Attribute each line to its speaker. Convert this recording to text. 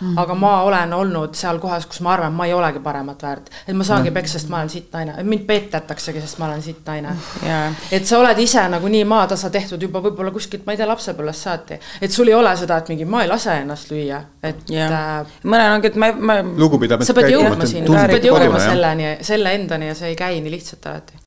Speaker 1: Mm -hmm. aga ma olen olnud seal kohas, kus ma arvan, ma ei olegi paremat väärt. et ma saangi peksa, sest ma olen sitt naine, mind petetaksegi, sest ma olen sitt naine
Speaker 2: jaa.
Speaker 1: et sa oled ise nagunii maatasa tehtud juba võib-olla kuskilt, ma ei tea, lapsepõlvest saati. et sul ei ole seda, et mingi ma ei lase ennast lüüa, et
Speaker 2: jah
Speaker 1: äh, ,
Speaker 2: mõnel ongi , et ma , ma
Speaker 1: sa
Speaker 3: lugupidamist
Speaker 1: pead jõudma sinna , sa pead
Speaker 2: tundub
Speaker 1: jõudma
Speaker 2: kodune, jah.
Speaker 1: selleni , selle endani ja see ei käi nii lihtsalt alati